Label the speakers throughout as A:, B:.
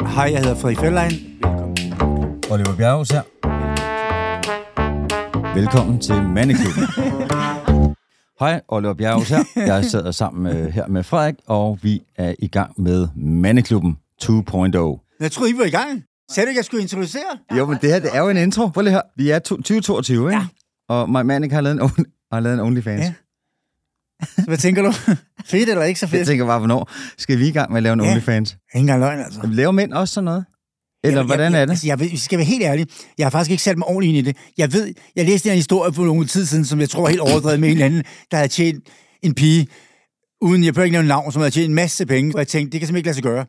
A: Hej, jeg hedder Frederik Fjellein. Velkommen.
B: Oliver Bjerghus her. Velkommen til Mandeklubben. Hej, Oliver Bjerghus her. Jeg sidder sammen med, her med Frederik, og vi er i gang med Mandeklubben 2.0.
A: Jeg troede, I var i gang. Sagde du ikke, jeg skulle introducere?
B: Jo, men det her, det er jo en intro. Prøv lige her. Vi er to- 2022, ikke? Ja. Og Mike Manic har lavet en, only, har lavet en OnlyFans.
A: Ja.
B: Ja.
A: Så Hvad tænker du? fedt eller ikke så fedt?
B: Jeg tænker bare, hvornår skal vi i gang med at lave en
A: Ja.
B: ja. OnlyFans?
A: Ingen engang løgn, altså.
B: Laver mænd også sådan noget? Eller
A: jeg,
B: hvordan
A: jeg,
B: er det?
A: Altså, jeg, ved- skal være helt ærlig. Jeg har faktisk ikke sat mig ordentligt ind i det. Jeg ved, jeg læste en historie for nogle tid siden, som jeg tror var helt overdrevet med en eller anden, der havde tjent en pige, uden jeg behøver ikke nævne navn, som havde tjent en masse penge, og jeg tænkte, det kan simpelthen ikke lade sig gøre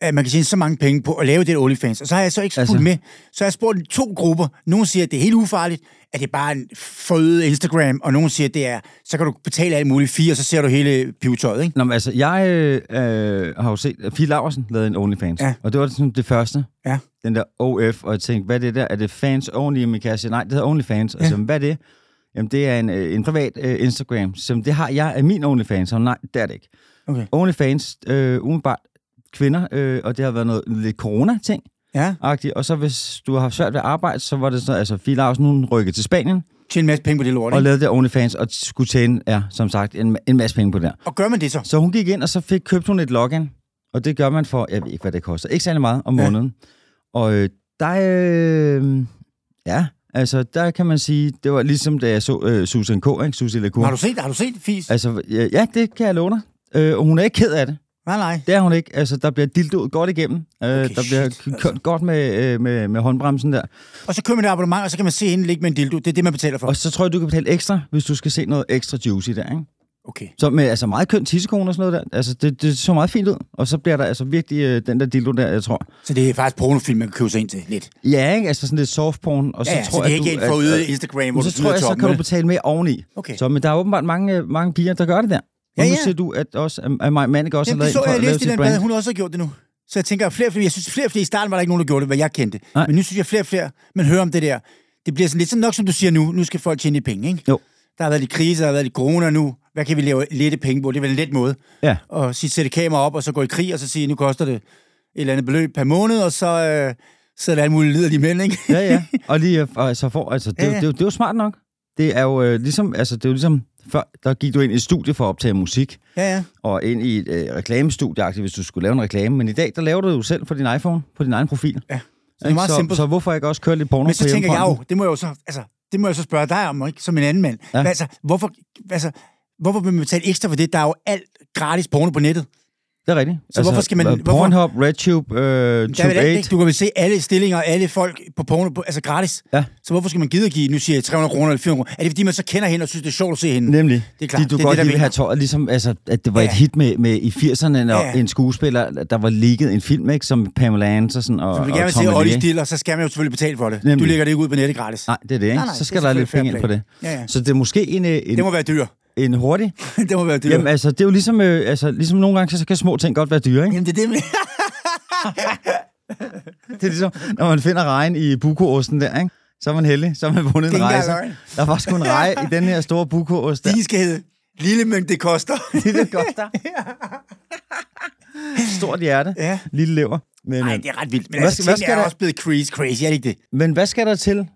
A: at man kan tjene så mange penge på at lave det OnlyFans. Og så har jeg så ikke fulgt
B: Altså-
A: med. Så har jeg spurgt to grupper. Nogle siger, at det er helt ufarligt, at det er bare en føde Instagram, og nogle siger, at det er, så kan du betale alt muligt fire, og så ser du hele pivetøjet, ikke?
B: Nå, men altså, jeg øh, har jo set, at Fie Laversen lavede en OnlyFans.
A: Ja.
B: Og det var sådan det første.
A: Ja.
B: Den der OF, og jeg tænkte, hvad er det der? Er det fans only? Men kan jeg sige, nej, det hedder OnlyFans. Og så, hvad er det? Jamen, det er en, øh, en privat øh, Instagram. Som det har jeg af min OnlyFans. Og nej, det er det ikke.
A: Okay.
B: OnlyFans, øh, umiddelbart kvinder, øh, og det har været noget lidt corona-ting.
A: Ja,
B: Og så hvis du har haft svært ved at arbejde, så var det sådan, altså Fie Laversen, hun rykkede til Spanien
A: tjene en masse penge på det lort,
B: og
A: ikke?
B: lavede det OnlyFans, og skulle tjene, ja, som sagt, en, en masse penge på det der.
A: Og gør man det så?
B: Så hun gik ind, og så fik købt hun et login. Og det gør man for, jeg ved ikke, hvad det koster. Ikke særlig meget om
A: Ja.
B: måneden. Og øh, der, øh, ja, altså, der kan man sige, det var ligesom, da jeg så øh, Susan K., ikke? Susie Lacour.
A: Har du set, har du set fis?
B: Altså, ja, ja, det kan jeg love dig. Øh, og hun er ikke ked af det.
A: Nej, nej.
B: Det er hun ikke. Altså, der bliver dildoet godt igennem. Øh, okay, der bliver
A: shit,
B: kørt
A: altså.
B: godt med, øh, med, med håndbremsen der.
A: Og så køber man et abonnement, og så kan man se hende ligge med en dildo. Det er det, man betaler for.
B: Og så tror jeg, du kan betale ekstra, hvis du skal se noget ekstra juicy der, ikke?
A: Okay.
B: Så med altså meget køn tissekone og sådan noget der. Altså, det, det så meget fint ud. Og så bliver der altså virkelig øh, den der dildo der, jeg tror.
A: Så det er faktisk pornofilm, man kan købe sig ind til lidt.
B: Ja, ikke? Altså sådan lidt soft porn. Og så
A: Ja, ja,
B: tror
A: så det er
B: jeg,
A: ikke
B: du,
A: en for øget Instagram, hvor
B: men
A: du
B: så tror jeg, så kan du betale mere oveni.
A: Okay.
B: Så, men der er åbenbart mange, øh, mange piger, der gør det der. Og
A: Ja,
B: ja, nu
A: ja.
B: ser du, at også at at Maja Manik også
A: Jamen,
B: har
A: det så jeg
B: lavet en for at lave
A: læste i
B: sit
A: den blad,
B: brand.
A: hun også har gjort det nu. Så jeg tænker, at flere og flere, jeg synes flere og flere, i starten var der ikke nogen, der gjorde det, hvad jeg kendte.
B: Nej.
A: Men nu synes jeg, flere og flere, man hører om det der. Det bliver sådan lidt sådan nok, som du siger nu, nu skal folk tjene lidt penge, ikke?
B: Jo.
A: Der har været lidt krise, der har været lidt corona nu. Hvad kan vi lave lette penge på? Det er vel en let måde.
B: Ja.
A: Og sige, sætte kamera op, og så gå i krig, og så sige, nu koster det et eller andet beløb per måned, og så øh, sidder der alle mulige liderlige mænd, ikke?
B: ja, ja. Og lige øh, og så får, altså, det,
A: Ja,
B: ja,
A: ja.
B: ja. Det, det, det, er jo smart nok. Det er jo øh, ligesom, altså, det er jo ligesom, før, der gik du ind i et studie for at optage musik,
A: ja, ja.
B: og ind i et øh, reklamestudie, hvis du skulle lave en reklame. Men i dag, der laver du det jo selv for din iPhone, på din egen profil.
A: Ja.
B: Så, ikke?
A: meget
B: så,
A: simpelt.
B: så, hvorfor ikke også køre lidt porno
A: Men så
B: på
A: tænker jeg
B: hjemmefronten?
A: jo, det må jeg jo så, altså, det må jeg så spørge dig om, ikke? Som en anden mand. Ja.
B: Ja.
A: Altså, hvorfor, altså, hvorfor vil man betale ekstra for det? Der er jo alt gratis porno på nettet.
B: Det er rigtigt.
A: Så
B: Altså,
A: hvorfor skal man-
B: hvad-
A: hvorfor-
B: Pornhub, RedTube, øh,
A: Der er vel
B: Tube
A: alt,
B: 8.
A: ikke? Du kan vel se alle stillinger og alle folk på porno, på, altså gratis.
B: Ja.
A: Så hvorfor skal man gide at give, nu siger jeg 300 kroner eller 400 kroner? Er det fordi, man så kender hende og synes, det er sjovt at se hende?
B: Nemlig.
A: Det er klart,
B: Fordi du
A: det er det,
B: godt
A: der
B: lige vil
A: vinder.
B: have tøjet, ligesom altså, at det var
A: Ja.
B: et hit med, med i 80'erne, når
A: Ja.
B: ja. en skuespiller, der var ligget en film, ikke, som Pamela Andersen og,
A: Så
B: og
A: vil gerne
B: Tom
A: se Olli
B: Ellie.
A: Stiller, så skal man jo selvfølgelig betale for det.
B: Nemlig.
A: Du lægger det ikke ud på nettet gratis.
B: Nej, det er det, ikke?
A: Nej, nej,
B: så
A: det er
B: skal der lidt penge
A: selvfølgelig
B: ind på det.
A: fair play. Ja, ja.
B: Så det er måske en, øh, en,
A: Det må være dyr.
B: en hurtig...
A: det må være dyr.
B: Jamen, altså, det er jo ligesom, øh, altså, ligesom nogle gange, så så kan små ting godt være dyre, ikke?
A: Jamen, det er det med.
B: Det er ligesom, når man finder rejen i bukoosten der, ikke? Så er man heldig, så har man vundet
A: Det er ikke
B: en rejse.
A: engang løgn.
B: Der var sgu en reje i den her store bukoost der.
A: De skal hedde Lille, men det koster.
B: Lille koster. Stort hjerte.
A: Ja.
B: Lille lever. Men,
A: Nej,
B: øh,
A: det er ret vildt. Men
B: Hvad
A: altså,
B: skal- hvad
A: tingene
B: skal
A: er
B: der-
A: også blevet crazy, crazy, er det ikke det?
B: men hvad skal der til?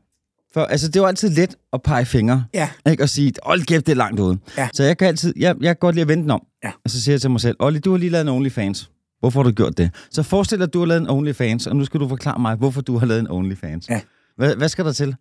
B: For, altså, det er jo altid let at pege fingre.
A: Ja.
B: Ikke? Og sige, hold kæft, det er langt ude.
A: Ja.
B: Så jeg kan altid, jeg, jeg kan godt lide at vente den om.
A: Ja.
B: Og så siger jeg til mig selv, Olli, du har lige lavet en OnlyFans. Hvorfor har du gjort det? Så forestil dig, at du har lavet en OnlyFans, og nu skal du forklare mig, hvorfor du har lavet en OnlyFans.
A: Ja.
B: Hvad, hvad skal der til?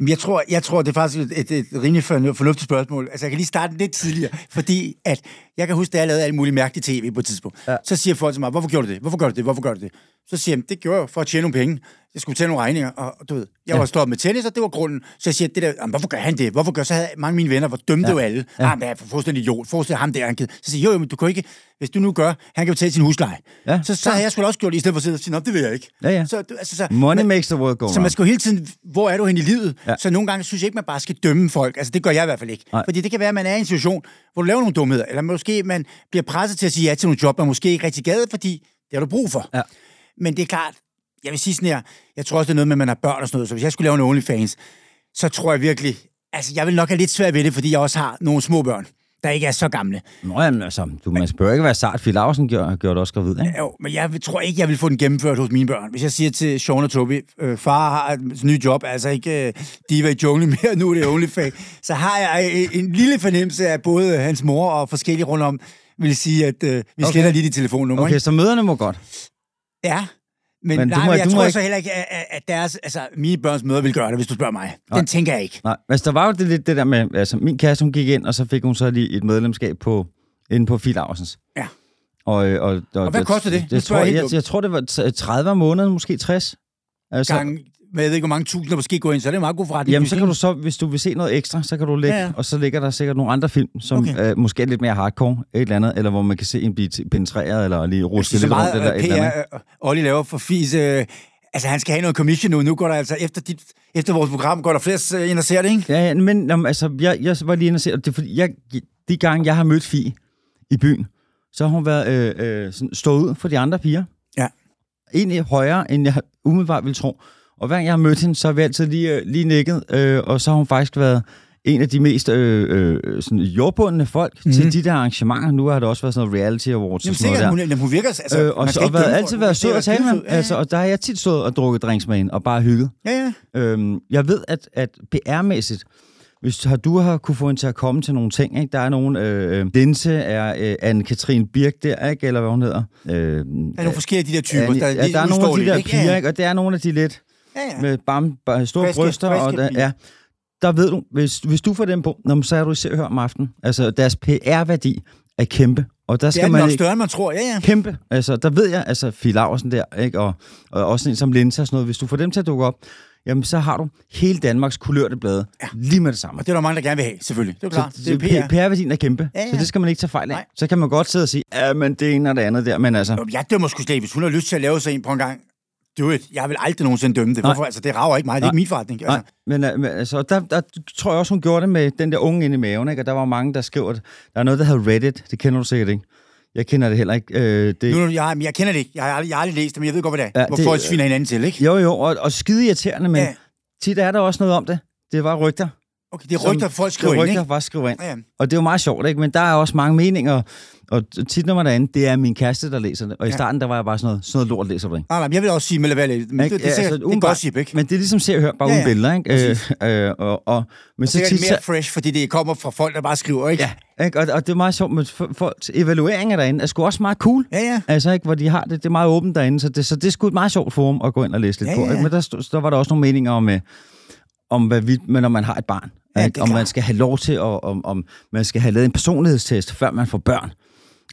A: Jamen, Jeg tror, jeg tror, det er faktisk et, et, et rimelig fornu- fornuftigt spørgsmål. Altså, jeg kan lige starte lidt tidligere, fordi at jeg kan huske, da jeg lavede alt muligt mærkeligt tv på et tidspunkt. Ja.
B: Ja.
A: Så siger folk til mig, hvorfor gjorde du det? Hvorfor gør du det? Hvorfor gør du det? Så siger jeg, "Jamen, det gjorde jeg for at tjene nogle penge. Jeg skulle tage nogle regninger, og og du ved, jeg ja. var stoppet med tennis, og det var grunden. Så jeg siger, det der, "Jamen, hvorfor gør han det? Hvorfor gør så havde mange af mine venner, hvor dømte ja. jo alle. Ja. Ah, men jeg er fuldstændig idiot. Forestil dig ham der, han kan. Så siger jeg, jo, jo, men du kan ikke, hvis du nu gør, han kan betale sin husleje. Ja.
B: Ja.
A: Så, så havde jeg sgu da også gjort det, i stedet for at sidde og sige, "Nå, det vil jeg ikke.
B: Ja, ja.
A: Så, du- altså, så,
B: Money
A: men-
B: makes the world go
A: så man
B: round.
A: skal jo hele tiden, hvor er du hen i livet? Ja.
B: Ja.
A: Så nogle gange synes jeg ikke, man bare skal dømme folk. Altså, det gør jeg i hvert fald ikke. Nej.
B: Nej.
A: Fordi det kan være, at man er i en situation, hvor du laver nogle dumheder, eller måske man bliver presset til at sige ja til nogle job, man måske ikke rigtig gad, fordi det har du brug for.
B: Ja.
A: Men det er klart, jeg vil sige sådan her, jeg tror også, det er noget med, at man har børn og sådan noget, så hvis jeg skulle lave en OnlyFans, så tror jeg virkelig, altså jeg vil nok have lidt svært ved det, fordi jeg også har nogle små børn. der ikke er så gamle.
B: Nå, jamen, altså, du, man spørger ikke, hvad sart Fie Larsen gjorde, gjorde det også gravid, ikke?
A: Jo, men jeg tror ikke, jeg vil få den gennemført hos mine børn. Hvis jeg siger til Sean og Toby, øh, far har et nyt job, altså ikke øh, diva i junglen mere, nu er det OnlyFans, så har jeg øh, en lille fornemmelse af både hans mor og forskellige rundt om, vil sige, at øh, vi
B: Okay.
A: sletter lige dit telefonnummer.
B: Okay,
A: ikke?
B: så møderne må godt.
A: Ja, men,
B: Men
A: men
B: du
A: nej,
B: må-
A: men jeg
B: du må
A: tror
B: ikke-
A: så heller ikke, at- at, at deres, altså, mine børns møder vil gøre det, hvis du spørger mig. Den
B: Nej.
A: tænker jeg ikke.
B: Nej, altså der var jo det, lidt det der med, altså min kæreste, hun gik ind, og så fik hun så lige et medlemskab på, inde på Fil Aursens.
A: Ja.
B: Og, øh, og, og,
A: Og hvad
B: jeg-
A: koster det?
B: Jeg,
A: Nu
B: jeg,
A: spørger
B: tror,
A: jeg helt
B: jeg,
A: dumt.
B: jeg, tror, det var t- 30 om måneden, måske 60. Altså,
A: Gang, men jeg ved ikke, hvor mange tusinder måske går ind, så er det en meget god forretning.
B: Jamen,
A: hvis
B: så kan du så, hvis du vil se noget ekstra, så kan du lægge,
A: Ja,
B: ja,
A: ja.
B: ja. og så ligger der sikkert nogle andre film, som
A: Okay.
B: okay. øh, måske er lidt mere hardcore, et eller andet, eller hvor man kan se en blive t- penetreret, eller lige ruske
A: Det er så
B: lidt rundt,
A: meget
B: eller
A: eller
B: et eller andet.
A: PR, øh, Olli laver for fis. Øh, altså, han skal have noget commission nu. Nu går der altså, efter, dit, efter vores program, går der flest øh, ind og ser det, ikke?
B: Ja, ja, men jamen, altså, jeg, jeg var lige inde og se, og det er fordi, jeg, de gange, jeg har mødt Fie i byen, så har hun været øh, øh, sådan, stået ud for de andre piger.
A: Ja.
B: Egentlig højere, end jeg umiddelbart ville tro. Og hver gang jeg har mødt hende, så har vi altid lige, øh, lige nikket, øh, og så har hun faktisk været en af de mest øh, øh, sådan jordbundne folk mm. til de der arrangementer. Nu har der også været sådan noget reality awards
A: Mhm. Jamen,
B: og sådan noget
A: sikkert,
B: der.
A: hun, jamen, hun virker... Altså,
B: Øh, og
A: man
B: så
A: skal
B: har
A: ikke
B: været,
A: dømme
B: altid
A: folk.
B: været
A: Hun
B: sød
A: virker
B: at tale med.
A: skidesød. Ja, ja.
B: Altså, og der har jeg tit stået og drukket drinks med hende, og bare hygget.
A: Ja, ja.
B: Øhm, jeg ved, at, at PR-mæssigt, hvis har, du har kunne få hende til at komme til nogle ting, ikke? der er nogen, øh, øh, Dense er øh, Anne-Katrin Birk der, ikke? eller hvad hun hedder. Øh, ja,
A: Der er nogle forskellige af de der typer.
B: ja, der, er nogle af de der piger, ikke? og det er nogle af de lidt
A: Ja, ja.
B: med bam, bare store
A: Friske-
B: bryster.
A: friske
B: og der,
A: piger.
B: ja, der ved du, hvis, hvis du får dem på, nå, men så er du i Se og Hør om aftenen. Altså, deres PR-værdi er kæmpe, og der
A: Det
B: skal
A: er
B: man
A: nok
B: ikke-
A: større, end man tror. Ja, ja.
B: kæmpe. Altså, der ved jeg, altså Fie Laursen der, ikke? Og, og også en som Linse og sådan noget. Hvis du får dem til at dukke op, jamen så har du hele Danmarks kulørte blade ja. lige med det samme.
A: Og det er der mange, der gerne vil have, selvfølgelig. Det er klart. Det er
B: P-
A: PR.
B: PR-værdien er kæmpe,
A: Ja, ja.
B: så det skal man ikke tage fejl af.
A: Nej.
B: Så kan man godt sidde og sige, ja, men det ene og det andet der, men altså...
A: Nå, men Jeg dømmer sgu slet ikke. Hvis hun har lyst til at lave sig en på en gang, do it. Jeg vil aldrig nogensinde dømme det.
B: Nej.
A: Hvorfor? Altså, det rager ikke mig. Det er ikke min forretning. Altså,
B: Nej, men, øh, men altså, der, der tror jeg også, hun gjorde det med den der unge inde i maven, ikke? Og der var mange, der skrev, at der er noget, der hedder Reddit. Det kender du sikkert ikke. Jeg kender det heller ikke. Øh, det,
A: nu, nu- jeg, jeg kender det ikke. Jeg har, aldrig, jeg har aldrig læst det, men jeg ved godt, hvad det er.
B: Ja,
A: Hvor
B: det-
A: folk sviner hinanden til, ikke?
B: Jo, jo, og, og skide irriterende, men
A: Ja.
B: ja. tit er der også noget om det. Det var rygter.
A: Okay, det er rygter, folk skriver
B: det er
A: ind,
B: rygter,
A: ikke?
B: bare skriver ind.
A: Ja, ja.
B: Og det er jo meget sjovt, ikke? Men der er også mange meninger, og tit når man er inde, det er min kæreste, der læser det. Og i
A: Ja.
B: starten, der var jeg bare sådan noget, sådan noget lort læser du, ikke?
A: Nej, nej, men jeg vil også sige, med lade være lidt. Men det, det, det, er sikkert, det er
B: altså, umiddelbart-
A: gossip, ikke? Men,
B: Men det er ligesom ser og hør, bare
A: Ja,
B: ja,
A: ja.
B: ja. uden billeder, ikke? Øh, øh, og, og, men
A: det
B: så
A: er
B: tit,
A: sikkert mere
B: så,
A: fresh, fordi det kommer fra folk, der bare skriver, ikke?
B: ja, ikke? Og, og det er meget sjovt, men for- folks evalueringer derinde er sgu også meget cool.
A: Ja, ja.
B: Altså, ikke, hvor de har det, det er meget åbent derinde, så det, så det er sgu et meget sjovt forum at gå ind og læse lidt
A: Ja,
B: på.
A: ja, ja.
B: Ikke? Men der, stod- der var der også nogle meninger om, øh, om hvad vi, men om man har et barn.
A: Ja, det
B: ikke?
A: er
B: Om man
A: klart.
B: skal have lov til, og om, om man skal have lavet en personlighedstest, før man får børn.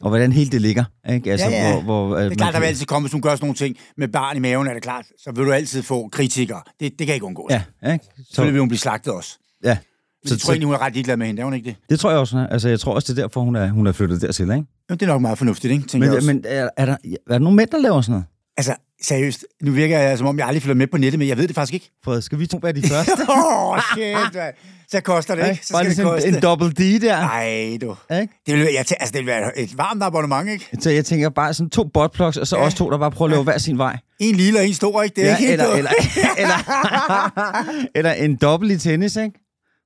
B: Og hvordan hele det ligger. Ikke? Altså,
A: Ja, ja.
B: Hvor, hvor, øh,
A: Det er
B: man
A: klart, der
B: kan-
A: vil altid komme, hvis hun gør sådan nogle ting med barn i maven, er det klart. Så vil du altid få kritikere. Det, det kan ikke undgås.
B: Ja, ikke?
A: Så vil
B: Så,
A: hun blive slagtet også.
B: ja.
A: Men
B: Så-
A: jeg tror
B: så-
A: egentlig, hun er ret ligeglad med hende. Er hun ikke det?
B: Det tror jeg også, hun er. Altså, jeg tror også, det er derfor, hun er, hun er flyttet dertil, ikke?
A: Jo, det er nok meget fornuftigt, ikke? Tænker jeg
B: Men,
A: også.
B: men er, er, der, er der nogle mænd, der laver sådan noget?
A: Altså, seriøst. Nu virker jeg, som om jeg aldrig følger med på nettet, men jeg ved det faktisk ikke.
B: Fred, skal vi to være de første?
A: Åh, oh, shit, mand. Så koster det, ikke? Så
B: Bare
A: skal det
B: lige sådan
A: koste.
B: en, en double D der.
A: Nej, du.
B: Ikke?
A: Det vil, jeg tæ- altså, det vil være et varmt abonnement, ikke?
B: Så jeg tænker bare sådan to botplugs, og så
A: Ja.
B: ja. også to, der bare prøver at lave hver sin vej.
A: En lille og en stor, ikke? Det er ikke helt
B: eller,
A: noget.
B: eller, eller, eller en dobbelt i tennis, ikke?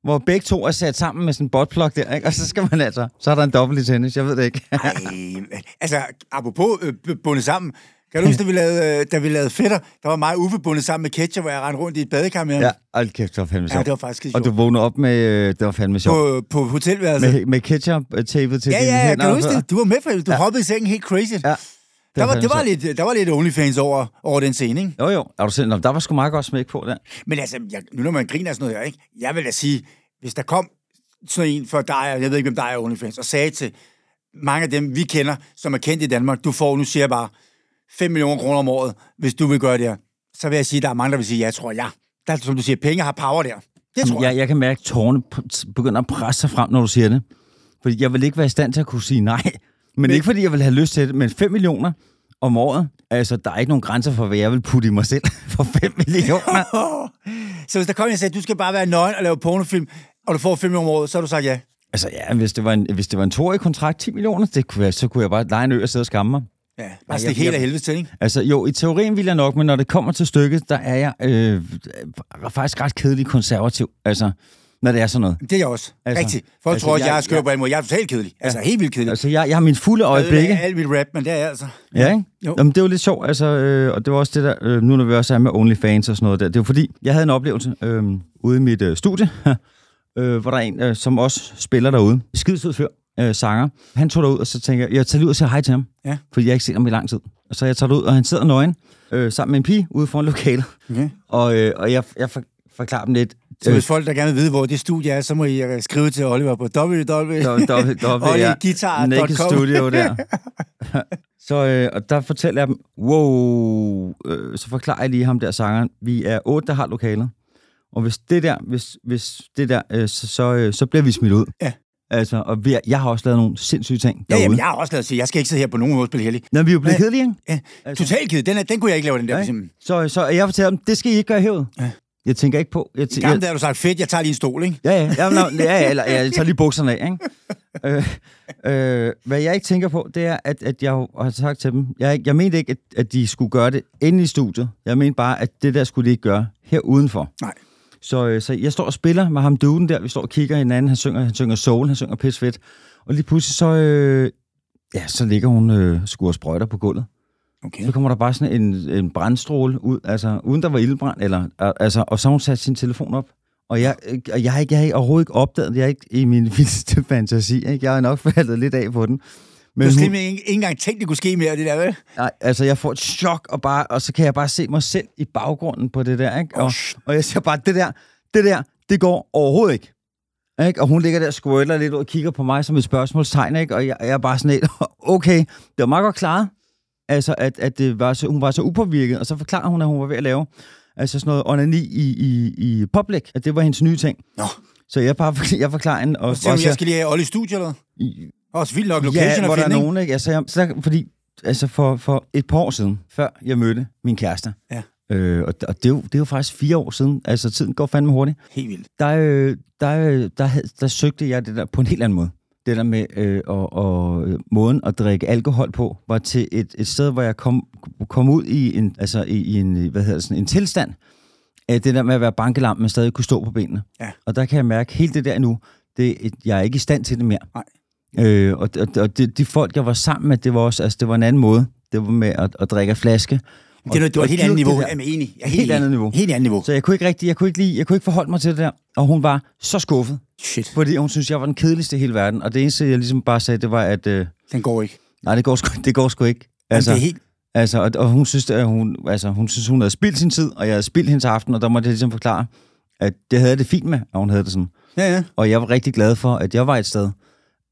B: Hvor begge to er sat sammen med sådan en botplug der, ikke? Og så skal man altså... Så er der en dobbelt i tennis, jeg ved det ikke.
A: Ej, men- altså, apropos øh, b- bundet sammen. Kan du huske, da vi lavede, øh, da vi lavede fætter, der var mig og Uffe bundet sammen med ketchup, hvor jeg rendte rundt i et badekar med ham.
B: ja, hold kæft, det var fandme
A: ja
B: sjovt.
A: det var faktisk
B: og
A: sjovt.
B: du vågnede op med... øh, Det var fandme sjovt.
A: På, på hotelværelset.
B: Med, med ketchup-tapet til
A: ja,
B: dine
A: ja, ja,
B: hænder.
A: kan du
B: og
A: huske
B: fødder.
A: det? Du var med, for du hoppede i sengen helt crazy.
B: Ja,
A: der, var, det
B: fandme
A: var
B: sjovt.
A: lidt, der var lidt OnlyFans over, over den scene, ikke?
B: Jo, jo. Er du selv? Nå, der var sgu meget godt smæk på der.
A: Men altså, jeg, nu når man griner af sådan noget her, ikke? Jeg vil da sige, hvis der kom sådan en for dig, og jeg ved ikke, hvem dig er OnlyFans, og sagde til mange af dem, vi kender, som er kendt i Danmark, du får, nu siger jeg bare, 5 millioner kroner om året, hvis du vil gøre det her. Så vil jeg sige, der er mange, der vil sige, ja, tror jeg. Der, er, som du siger, penge har power der. Det tror jeg.
B: Jeg, jeg kan mærke, at tårerne p- begynder at presse sig frem, når du siger det. Fordi jeg vil ikke være i stand til at kunne sige nej. Men, men ikke fordi jeg vil have lyst til det, men 5 millioner om året. Altså, der er ikke nogen grænser for, hvad jeg vil putte i mig selv for 5 millioner.
A: Så hvis der kom en og sagde, du skal bare være nøgen og lave pornofilm, og du får 5 millioner om året, så har du sagt ja.
B: altså, ja, hvis det var en, hvis det var en toårig kontrakt, 10 millioner, det kunne jeg, så kunne jeg bare lege en ø og sidde og skamme mig.
A: Ja,
B: jeg-
A: bare stik helt
B: jeg-
A: af helvede til, ikke?
B: Altså, jo, i teorien vil jeg nok, men når det kommer til stykket, der er jeg øh, faktisk ret kedelig konservativ. Altså, når det er sådan noget.
A: Det er jeg også.
B: Altså,
A: Altså, Rigtigt. Folk
B: altså,
A: altså, tror også,
B: jeg-
A: jeg, jeg er skør på alle måder. Jeg er totalt kedelig. Ja. Altså, helt vildt kedelig.
B: Altså, jeg, jeg har min fulde
A: Jeg ødelagde
B: øjeblikke.
A: alt mit rap, men det er jeg altså.
B: Ja, ikke? Jo.
A: Jo.
B: Jamen, det var lidt sjovt, altså, øh, og det var også det der, øh, nu når vi også er med OnlyFans og sådan noget der, det var fordi, jeg havde en oplevelse øh, ude i mit øh, studie, øh, hvor der er en, øh, som også spiller derude, skidesød fyr, øh, sanger, han tog derud, og så tænker jeg, jeg tager lige ud og siger hej til ham,
A: Ja.
B: fordi jeg har ikke set ham i lang tid. Og så jeg tager derud, og han sidder nøgen, øh, sammen med en pige ude foran lokalet,
A: Okay.
B: og, øh, og jeg, jeg for, forklarer dem lidt,
A: Mm. Så hvis folk, der gerne vil vide, hvor det studie er, så må I øh, skrive til Oliver på www.
B: øh, Naked
A: Olieguitar.com.
B: Studio der. så øh, og der fortæller jeg dem, wow, øh, så forklarer jeg lige ham der sangeren, vi er otte, der har lokalet. Og hvis det der, hvis, hvis det der, øh, så, så, øh, så bliver vi smidt ud.
A: Ja.
B: Altså, og vi er, jeg har også lavet nogle sindssyge ting
A: Ja,
B: derude.
A: jamen, jeg har også lavet at sige, jeg skal ikke sidde her på nogen måde og spille heldig.
B: Når vi er jo blevet
A: Ja.
B: kedelige, ikke?
A: Ja,
B: Altså.
A: altså. Totalt ked. Den, er- den kunne jeg ikke lave, den der.
B: Ja,
A: Ja,
B: ikke? Så, så jeg fortæller dem, det skal I ikke gøre herude.
A: Ja.
B: Jeg tænker ikke på... Jeg, tæ-
A: Gammel, der har du sagt, fedt, jeg tager lige en stol, ikke?
B: Ja, ja, ja, nå, ja, ja eller, ja, jeg tager lige bukserne af, ikke? Øh, øh, hvad jeg ikke tænker på, det er, at, at jeg jo har sagt til dem, jeg, er ikke- jeg mente ikke, at, at de skulle gøre det inde i studiet. Jeg mente bare, at det der skulle de ikke gøre her udenfor.
A: Nej.
B: Så, øh, så jeg står og spiller med ham duden der, vi står og kigger hinanden, han synger, han synger soul, han synger pis fedt. Og lige pludselig så, øh, ja, så ligger hun øh, skuer sprøjter på gulvet.
A: Okay.
B: Så kommer der bare sådan en, en brandstråle ud, altså uden der var ildbrand, eller, altså, og så har hun sat sin telefon op. Og jeg, øh, og jeg, har ikke, jeg har ikke overhovedet ikke opdaget det, jeg er ikke i min vildeste fantasi, ikke? jeg har nok faldet lidt af på den.
A: Du
B: Men
A: har
B: hun,
A: simpelthen ikke, ikke engang tænkt, det kunne ske mere, det der, vel?
B: nej, altså jeg får et chok, og, bare, og så kan jeg bare se mig selv i baggrunden på det der, ikke? Og, og jeg siger bare, det der, det der, det går overhovedet ikke. Ikke? Og hun ligger der og squirtler lidt ud og kigger på mig som et spørgsmålstegn, ikke? og jeg, jeg er bare sådan lidt, okay, det var meget godt klaret, altså, at, at det var så, hun var så upåvirket, og så forklarer hun, at hun var ved at lave altså sådan noget onani i, i, i public, at det var hendes nye ting.
A: Nå.
B: Så jeg, bare, jeg forklarer hende, og,
A: Så siger hun, jeg skal lige have Olli i studiet, eller hvad?
B: skal...
A: Også vildt nok location
B: Ja, hvor
A: at
B: der er
A: finde, ikke?
B: nogen, ikke? Altså, jeg, så, fordi, altså for, for et par år siden, før jeg mødte min kæreste,
A: Ja.
B: øh, og, og det, er jo, det er jo faktisk fire år siden, altså tiden går fandme hurtigt,
A: Helt vildt.
B: der, øh, der, øh, der, havde- der søgte jeg det der på en helt anden måde. Det der med øh, og, og øh, måden at drikke alkohol på, var til et, et sted, hvor jeg kom, kom ud i en, altså i, i en, hvad hedder det, sådan, en tilstand af det der med at være bankelam, men stadig kunne stå på benene.
A: Ja.
B: Og der kan jeg mærke, helt det der nu, det, er et- jeg er ikke i stand til det mere.
A: Nej.
B: Øh, og og, og det, de folk, jeg var sammen med, det var også, altså det var en anden måde. Det var med at, at drikke af flaske.
A: Det er noget, det var
B: Og-
A: et helt
B: og
A: andet
B: dyrke
A: niveau.
B: det der.
A: Jamen, enig. Jeg er
B: Helt
A: enig.
B: andet niveau.
A: Helt andet niveau.
B: Så jeg kunne ikke rigtig, jeg kunne ikke, lide, jeg kunne ikke forholde mig til det der. Og hun var så skuffet,
A: Shit,
B: fordi hun synes, jeg var den kedeligste i hele verden. Og det eneste, jeg ligesom bare sagde, det var, at øh,
A: den går ikke.
B: nej, det går sgu, det går sgu ikke.
A: Altså,
B: Altså,
A: det er helt...
B: altså, og, og, hun synes, at hun, altså, hun synes, hun havde spildt sin tid, og jeg havde spildt hendes aften, og der måtte jeg ligesom forklare, at det havde jeg det fint med, og hun havde det sådan.
A: Ja, ja.
B: Og jeg var rigtig glad for, at jeg var et sted,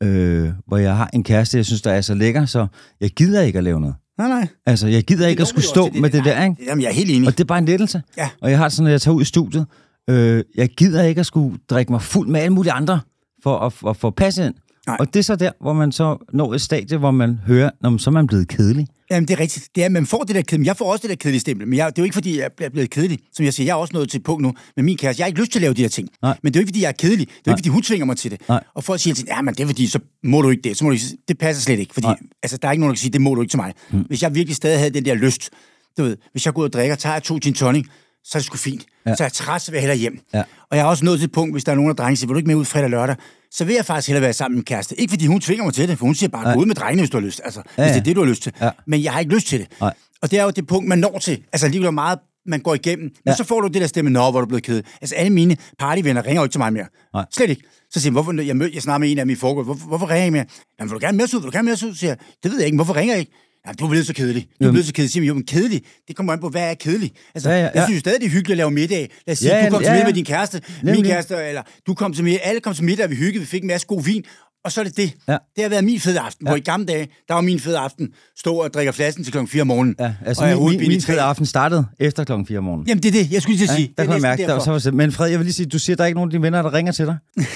B: øh, hvor jeg har en kæreste, jeg synes, der er så lækker, så jeg gider ikke at lave noget.
A: Nej, nej.
B: Altså, jeg gider ikke at skulle stå med det der, ikke?
A: Jamen, jeg er helt enig.
B: Og det er bare en lettelse.
A: Ja.
B: Og jeg har det sådan, at jeg tager ud i studiet. Øh, jeg gider ikke at skulle drikke mig fuld med alle mulige andre for at, at få passet ind.
A: Nej.
B: Og det er så der, hvor man så når et stadie, hvor man hører, når man, så er man blevet kedelig.
A: Jamen, det er rigtigt. Det er, man får det der kedelige. Jeg får også det der kedelige stempel, men jeg, det er jo ikke, fordi jeg er blevet kedelig. Som jeg siger, jeg er også nået til et punkt nu med min kæreste. Jeg har ikke lyst til at lave de her ting.
B: Nej.
A: Men det er jo ikke, fordi jeg er kedelig. Det er jo ikke, fordi hun tvinger mig til det.
B: Nej.
A: Og folk siger til ja, men det er fordi, så må du ikke det. Så må du ikke. Det passer slet ikke, fordi
B: Nej. Mm.
A: altså, der er ikke nogen, der kan sige, det må du ikke til mig. Hvis jeg virkelig stadig havde den der lyst, du ved, hvis jeg går ud og drikker, tager jeg to gin tonic, så er det sgu fint. Ja. Så er jeg træt, så vil jeg hellere hjem.
B: Ja.
A: Og jeg er også nået til et punkt, hvis der er nogen af drengene, der siger, vil du ikke med ud fredag og lørdag, så vil jeg faktisk hellere være sammen med min kæreste. Ikke fordi hun tvinger mig til det, for hun siger bare, gå ud med drengene, hvis du har lyst. Altså, ja,
B: ja.
A: hvis det er det, du har lyst til.
B: Ja.
A: Ja. Men jeg har ikke lyst til det.
B: Nej.
A: Og det er jo det punkt, man når til. Altså alligevel er meget, man går igennem. Men
B: Ja.
A: så får du det der stemme, nå, hvor er du blevet ked. Altså alle mine partyvenner ringer jo ikke til mig mere.
B: Nej.
A: Slet ikke. Så siger jeg, hvorfor, jeg, mød, jeg snakker med en af mine foregår, hvorfor, hvorfor ringer I mere? Jamen, vil du gerne med os ud? Vil du gerne med os ud? Så siger jeg, det ved jeg ikke, hvorfor ringer I ikke? Jamen, du er blevet så kedelig. Du er blevet så kedelig. Så Siger, jeg, jo, men kedelig, det kommer an på, hvad er kedelig? Altså,
B: Ja,
A: ja, ja,
B: ja,
A: ja.
B: ja.
A: jeg synes jo stadig, det er hyggeligt at lave middag. Lad os sige,
B: Ja,
A: ja, du kom
B: ja,
A: til middag
B: ja.
A: med din kæreste, min
B: Nemlig.
A: kæreste, eller du kom til middag, alle kom til middag, vi hyggede, vi fik en masse god vin, og så er det det.
B: Ja.
A: Det har været min fede aften, ja. hvor i gamle dage, der var min fede aften, stå og drikke flasken til klokken 4 om morgenen.
B: Ja, altså
A: og jeg
B: min, min,
A: hovedpine i
B: min
A: tre-
B: fede aften startede efter klokken 4 om morgenen.
A: Jamen, det er det, jeg skulle lige til at sige.
B: der
A: det
B: kunne
A: er
B: jeg mærke,
A: næsten
B: der, så var det, men Fred, jeg vil lige sige, du siger, at der er ikke nogen af dine venner, der ringer til dig.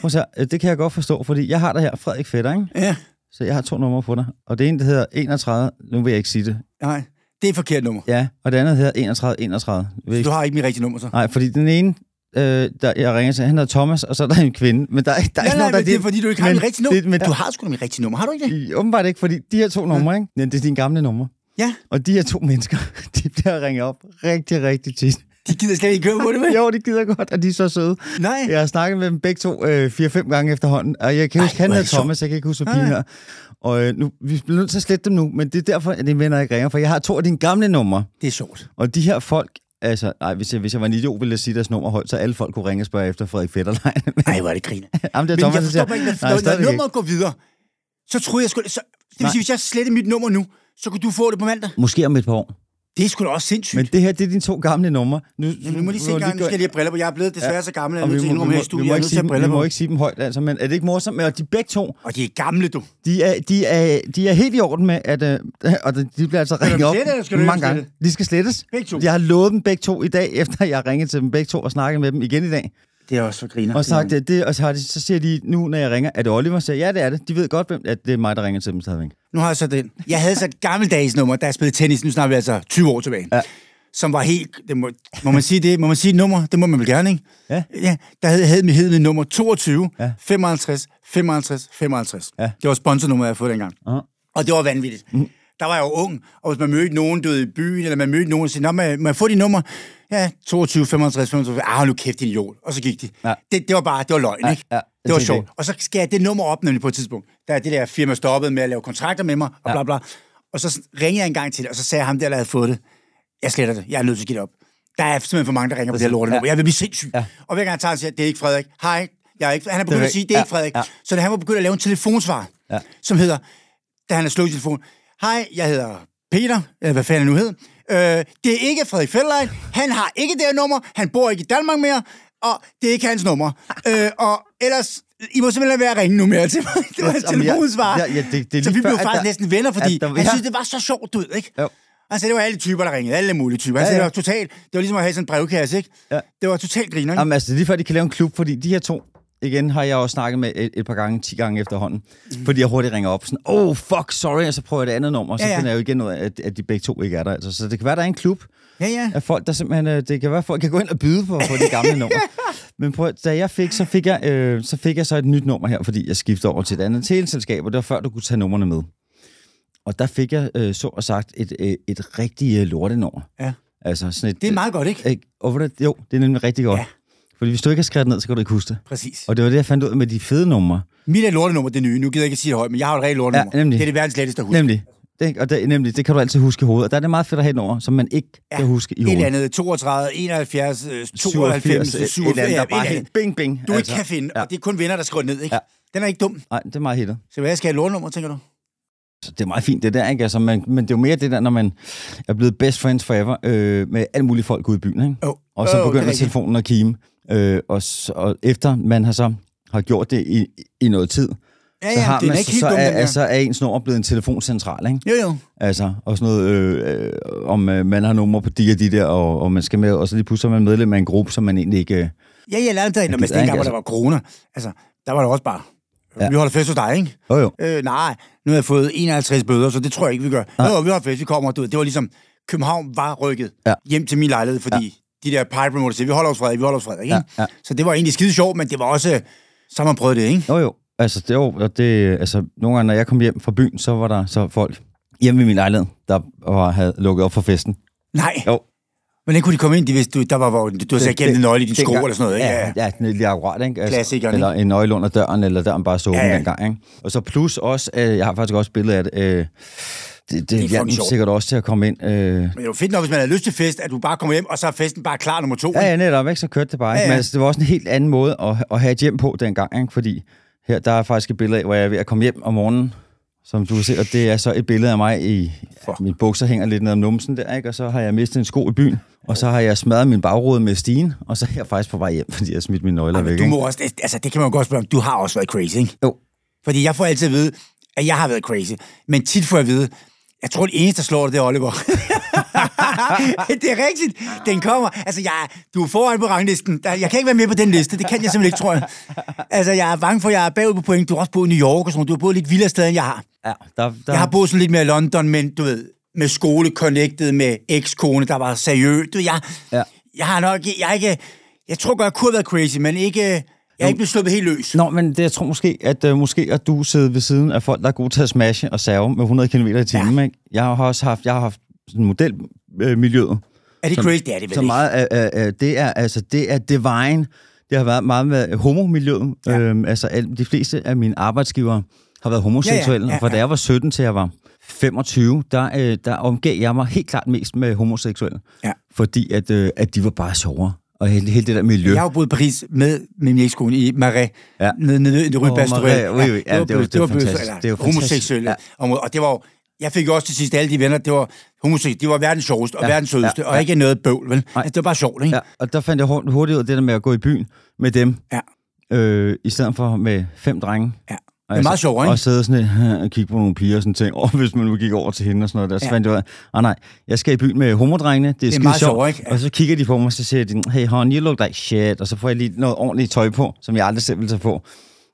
B: Prøv at se, her, Øh, det kan jeg godt forstå, fordi jeg har dig her, Frederik Fætter, ikke?
A: Ja,
B: Så jeg har to numre på dig. Og det ene, der hedder 31, nu vil jeg ikke sige det.
A: nej, det er et forkert nummer.
B: Ja, og det andet hedder 31, 31. Jeg Vil
A: Du
B: ikke...
A: har ikke mit rigtige nummer, så.
B: Nej, fordi den ene, øh, der jeg ringer til, han hedder Thomas, og så er der en kvinde. Men der, er- der er
A: Nej,
B: ikke
A: nej,
B: nogen, der
A: men det er fordi, du ikke har
B: men
A: mit rigtige nummer.
B: det- men
A: Men du har sgu da mit rigtige nummer, har du ikke det?
B: I- Åbenbart ikke, fordi de her to numre, ikke? Men det er dine gamle numre.
A: Ja.
B: Og de her to mennesker, de bliver ringet op rigtig, rigtig tit.
A: De gider slet ikke køre på det, vel?
B: Jo, det gider jeg godt, og de er så søde.
A: Nej.
B: Jeg har snakket med dem begge to øh, 4-5 gange efterhånden, og jeg kan
A: Ej,
B: huske, han
A: hvor er
B: hedder
A: det sjovt.
B: Thomas, jeg kan ikke huske, hvad
A: Nej,
B: pigen
A: nej.
B: her. Og øh, nu, vi bliver nødt til at slette dem nu, men det er derfor, at dine venner ikke ringer, for jeg har to af dine gamle numre,
A: Det er sjovt.
B: og de her folk, altså, nej, hvis jeg, hvis jeg var en idiot, ville jeg sige deres nummer højt, så alle folk kunne ringe og spørge efter Frederik Fetterlein.
A: Nej, hvor er det grine.
B: Jamen, det er
A: Men jeg
B: Thomas, der
A: forstår
B: siger,
A: bare ikke,
B: nej,
A: når, når
B: stadigvæk ikke.
A: nummeret går videre, så troede jeg skulle... Så, det vil
B: Nej.
A: sige, hvis jeg sletter mit nummer nu, så kunne du få det på mandag.
B: Måske om et par år.
A: Det er sgu da også sindssygt.
B: Men det her, det er dine to gamle numre. Nu,
A: Men nu må lige se
B: må
A: en gang, nu
B: gå-
A: skal jeg lige have briller på. Jeg er blevet desværre ja. så gammel, at jeg
B: Og
A: er
B: vi
A: nødt til at
B: må,
A: indrømme
B: vi,
A: her i
B: må, vi,
A: studiet. Jeg
B: må
A: er
B: ikke
A: nødt til
B: sige
A: at have
B: dem, vi
A: briller
B: må
A: på.
B: ikke sige dem højt, altså, men er det ikke morsomt? Og de begge to,
A: Og de er gamle, du.
B: de er, de er, de er helt i orden med, at øh, og de de bliver altså
A: du
B: ringet
A: dem
B: op
A: slette, eller skal du
B: mange
A: ikke
B: gange. De skal slettes.
A: Begge to.
B: Jeg har lovet dem begge to i dag, efter jeg har ringet til dem begge to og snakket med dem igen i dag.
A: Det er også for griner.
B: Og, sagt, at det, og så, har de, så siger de nu, når jeg ringer, er det Oliver? Så siger jeg, ja, det er det. De ved godt, hvem, at det er mig, der ringer til dem stadigvæk.
A: Nu har jeg så den. Jeg havde så et gammeldags nummer, da jeg spillede tennis. Nu snakker vi altså 20 år tilbage. Ja. Som var helt... Det må, må man sige det? Må man sige et nummer? Det må man vel gerne, ikke?
B: Ja.
A: ja der havde, havde mit, hed mit nummer 22,
B: Ja.
A: ja. 55, 55, 55.
B: Ja.
A: Det var sponsornummeret, jeg fået dengang.
B: Uh-huh.
A: Og det var vanvittigt. Mm. Der var jeg jo ung, og hvis man mødte nogen du ved, i byen, eller man mødte nogen og sagde, "Nå, må jeg, må jeg få dit nummer? Ja, 22, 55, 55. Ah, hold nu kæft, din jord. Og så gik de.
B: Ja.
A: Det, det var bare, det var løgn,
B: Ja,
A: ikke?
B: ja, det
A: det var
B: tænkte jeg
A: sjovt.
B: ikke.
A: Og så skal jeg det nummer op nemlig på et tidspunkt. Der er det der firma stoppet med at lave kontrakter med mig, og bla bla. Og så ringede jeg en gang til det, og så sagde jeg ham der, der havde fået det. Jeg sletter det. Jeg er nødt til at give det op. Der er simpelthen for mange, der ringer på det her lorte nummer. Jeg vil blive sindssyg.
B: Ja.
A: Og hver gang jeg tager den, siger jeg, det er ikke Frederik. Hej. Jeg er ikke, han er begyndt
B: Det er
A: at sige,
B: ikke-
A: det er ikke
B: ja,
A: Frederik.
B: ja.
A: Så han var begyndt at lave en telefonsvar,
B: Ja.
A: som hedder, da han har slået sin telefon, Hej, jeg hedder Peter, eller hvad fanden han nu hed. Øh, det er ikke Frederik Fetterlein. Han har ikke det her nummer. Han bor ikke i Danmark mere, og det er ikke hans nummer. øh, og ellers, I må simpelthen lade være at ringe nu mere til mig. Det var hans
B: Jamen, jeg-
A: telefonsvar.
B: ja, ja, det- det er
A: så
B: lige
A: vi
B: før,
A: blev
B: at
A: faktisk
B: der-
A: næsten venner, fordi
B: at der-
A: han
B: ja.
A: synes, det var så sjovt ud, ikke?
B: Jo.
A: Altså, det var alle typer, der ringede. Alle mulige typer. Altså, ja,
B: Ja, ja.
A: ja. det var totalt... Det var ligesom at have sådan en brevkasse, ikke?
B: Ja.
A: Det var totalt griner, ikke?
B: Jamen, altså, det er lige før, de kan lave en klub, fordi de her to, igen har jeg også snakket med et, et par gange, 10 gange efterhånden, fordi jeg hurtigt ringer op sådan, oh fuck, sorry, og så prøver jeg et andet nummer, og så ja,
A: Ja,
B: ja.
A: ja.
B: finder jeg jo igen ud af, at, at de begge to ikke er der. Altså, så det kan være, der er en klub,
A: Ja, ja.
B: at folk, der simpelthen, øh, det kan være, folk kan gå ind og byde på, på de gamle numre. Men prøv, at- da jeg fik, så fik jeg, øh, så fik jeg så et nyt nummer her, fordi jeg skiftede over til et andet teleselskab, og det var før, du kunne tage numrene med. Og der fik jeg, øh, så og sagt, et, øh, et rigtigt øh, lortenummer.
A: Ja.
B: Altså sådan et,
A: Det er meget godt, ikke?
B: ikke? Og ved du hvad, jo, det er nemlig rigtig godt. Ja.
A: Ja.
B: Fordi hvis du ikke har skrevet det ned, så kan du ikke huske det.
A: Præcis.
B: Og det var det, jeg fandt ud af med de fede numre.
A: Mit er lortenummer, det nye. Nu gider jeg ikke sige det højt, men jeg har et rigtigt lortenummer.
B: Ja, nemlig.
A: Det er det verdens letteste at huske.
B: Nemlig. Det, ikke? og det, nemlig, det kan du altid huske i hovedet. Og der er det meget fedt at have et nummer, som man ikke ja. kan huske i
A: Et
B: hovedet.
A: eller andet 32, 71, øh, 92, 97,
B: et eller andet, der bare
A: et eller
B: helt bing, bing. Altså.
A: Du ikke kan finde,
B: Ja.
A: og det er kun venner, der skriver ned, ikke?
B: Ja.
A: Den er ikke dum.
B: Nej, det er meget hittet.
A: Så hvad skal jeg have et lortenummer, tænker du?
B: Så det er meget fint, det der, ikke? Altså, man, men det er jo mere det der, når man er blevet best friends forever øh, med alle mulige folk ude i byen, ikke?
A: Jo.
B: Og så
A: Jo, det er
B: begynder
A: rigtigt.
B: telefonen at kime. Øh, og, s- og, efter man har så har gjort det i, i noget tid,
A: Ja,
B: så,
A: ja,
B: har
A: den
B: man,
A: er ikke helt
B: så,
A: dum,
B: er, altså-
A: den der.
B: er, så er ens nummer blevet en telefoncentral, ikke?
A: Jo, jo.
B: Altså, og sådan noget, øh, øh, om øh, man har nummer på de og de der, og, og man skal med, og så lige pludselig er man medlem af en gruppe, som man egentlig ikke... Øh,
A: Ja, jeg lærte det, når
B: gider
A: man
B: ikke,
A: dengang, hvor der var corona. Altså, der var der også bare, vi holder fest hos dig, ikke?
B: jo, jo.
A: Øh, nej, nu har jeg fået 51 bøder, så det tror jeg ikke, vi gør. Nå, jo, vi har fest, vi kommer, du ved, det var ligesom, København var rykket
B: Ja.
A: hjem til min lejlighed, fordi de der pipe promoters siger, vi holder os Frederik, vi holder os Frederik, ikke?
B: Ja, ja.
A: Så det var egentlig skide sjovt, men det var også, øh, så har man prøvet det, ikke?
B: Jo, jo. Altså, det, jo, og det, altså, nogle gange, når jeg kom hjem fra byen, så var der så folk hjemme i min lejlighed, der var, havde lukket op for festen.
A: Nej.
B: Jo.
A: Hvordan kunne de komme ind, de vidste, du, der var, hvor, du har sat gennem en nøgle i din sko
B: Dengang-
A: eller sådan noget, ikke?
B: Ja, ja, ja lige akkurat, ikke? Altså,
A: Klassikeren,
B: Eller en nøgle under døren, eller døren bare så åben ja,
A: Ja,
B: ja.
A: ja.
B: dengang, ikke? Og så plus også, øh, jeg har faktisk også et billede af det, øh, det, det, det hjalp
A: fucking
B: dem
A: sjovt.
B: sikkert også til at komme ind. Øh,
A: Men det er jo fedt nok, hvis man har lyst til fest, at du bare kommer hjem, og så er festen bare klar nummer to.
B: Ja,
A: ikke?
B: ja, netop, ikke? Så kørte det bare. Ikke?
A: Ja, ja.
B: Men altså, det var også en helt anden måde at, at have et hjem på dengang, ikke? Fordi her, der er faktisk et billede af, hvor jeg er ved at komme hjem om morgenen, som du kan se, og det er så et billede af mig i...
A: Fuck.
B: Mine bukser hænger lidt ned om numsen der, ikke? Og så har jeg mistet en sko i byen, og så har jeg smadret min bagrude med stigen, og så er jeg faktisk på vej hjem, fordi jeg har smidt mine nøgler væk,
A: Men du
B: ikke?
A: må også, altså det kan man jo godt spørge om, du har også været crazy, ikke?
B: Jo.
A: Fordi jeg får altid at vide, at jeg har været crazy. Men tit får jeg at vide, jeg tror, det eneste, der slår dig, det er Oliver. det er rigtigt. Den kommer. Altså, jeg, du er foran på ranglisten. Der- Jeg kan ikke være med på den liste. Det kan jeg simpelthen ikke, tror jeg. Altså, jeg er bange for, at jeg er bagud på point. Du har også boet i New York og sådan noget. Du har boet lidt vildere steder, end jeg har.
B: Ja, der, der,
A: Jeg har boet sådan lidt mere i London, men du ved, med skole connected med ekskone, der var seriøs. Du, jeg,
B: Ja.
A: ja. jeg har nok jeg er ikke... Jeg tror godt, jeg kunne have været crazy, men ikke... Jeg er ikke blevet sluppet helt løs.
B: Nå, men det, jeg tror måske, at øh, måske at du sidder ved siden af folk, der er gode til at smashe og serve med 100 km i timen. Ja. Ikke? Jeg har også haft, jeg har haft sådan modelmiljøet, øh, miljøet,
A: Er det
B: som-
A: crazy? Det er det vel
B: så
A: ikke.
B: meget af, af, af det er altså det er divine. Det har været meget med homomiljøet.
A: Ja.
B: Ja. Øhm, altså al, de fleste af mine arbejdsgivere har været homoseksuelle.
A: Ja,
B: Ja,
A: ja,
B: ja,
A: ja,
B: ja, Fra da
A: ja.
B: jeg var 17 til jeg var 25, der, øh, der omgav jeg mig helt klart mest med homoseksuelle.
A: Ja.
B: Fordi at, øh, at de var bare sjovere. Og hele, hele det der miljø.
A: Jeg har jo boet i Paris med, med min ekskone i Marais, ja.
B: Ja.
A: nede, nede i det røde
B: Åh,
A: Bastogne.
B: Marais, oui, oui. Ja,
A: det var,
B: det var-
A: blevet-
B: det var
A: blevet-
B: fantastisk.
A: eller
B: Det var fantastisk.
A: homoseksuelle
B: Ja.
A: områder, og det var jo- jeg fik jo også til sidst alle de venner, det var homoseksuelle, de var verdens sjoveste og ja,
B: Ja,
A: verdens sødeste,
B: ja,
A: og
B: ja.
A: ikke noget bøvl, vel? Altså, det var bare sjovt, ikke?
B: Ja, og der fandt jeg hurtigt hurtigt ud af det der med at gå i byen med dem.
A: Ja.
B: Øh, I stedet for med fem drenge.
A: ja.
B: Og
A: Det er meget sjovt, ikke?
B: Og sidde sådan lidt, og kigge på nogle piger og sådan ting. Og hvis man nu gik over til hende og sådan noget der, så
A: Ja.
B: ja. fandt jeg ud af, ah, nej, jeg skal i byen med homodrengene, det er, skide
A: meget
B: sjovt.
A: sjovt, ikke? Ja.
B: Og så kigger de på mig, og så siger de, hey hon, you look like shit. Og så får jeg lige noget ordentligt tøj på, som jeg aldrig selv ville tage på.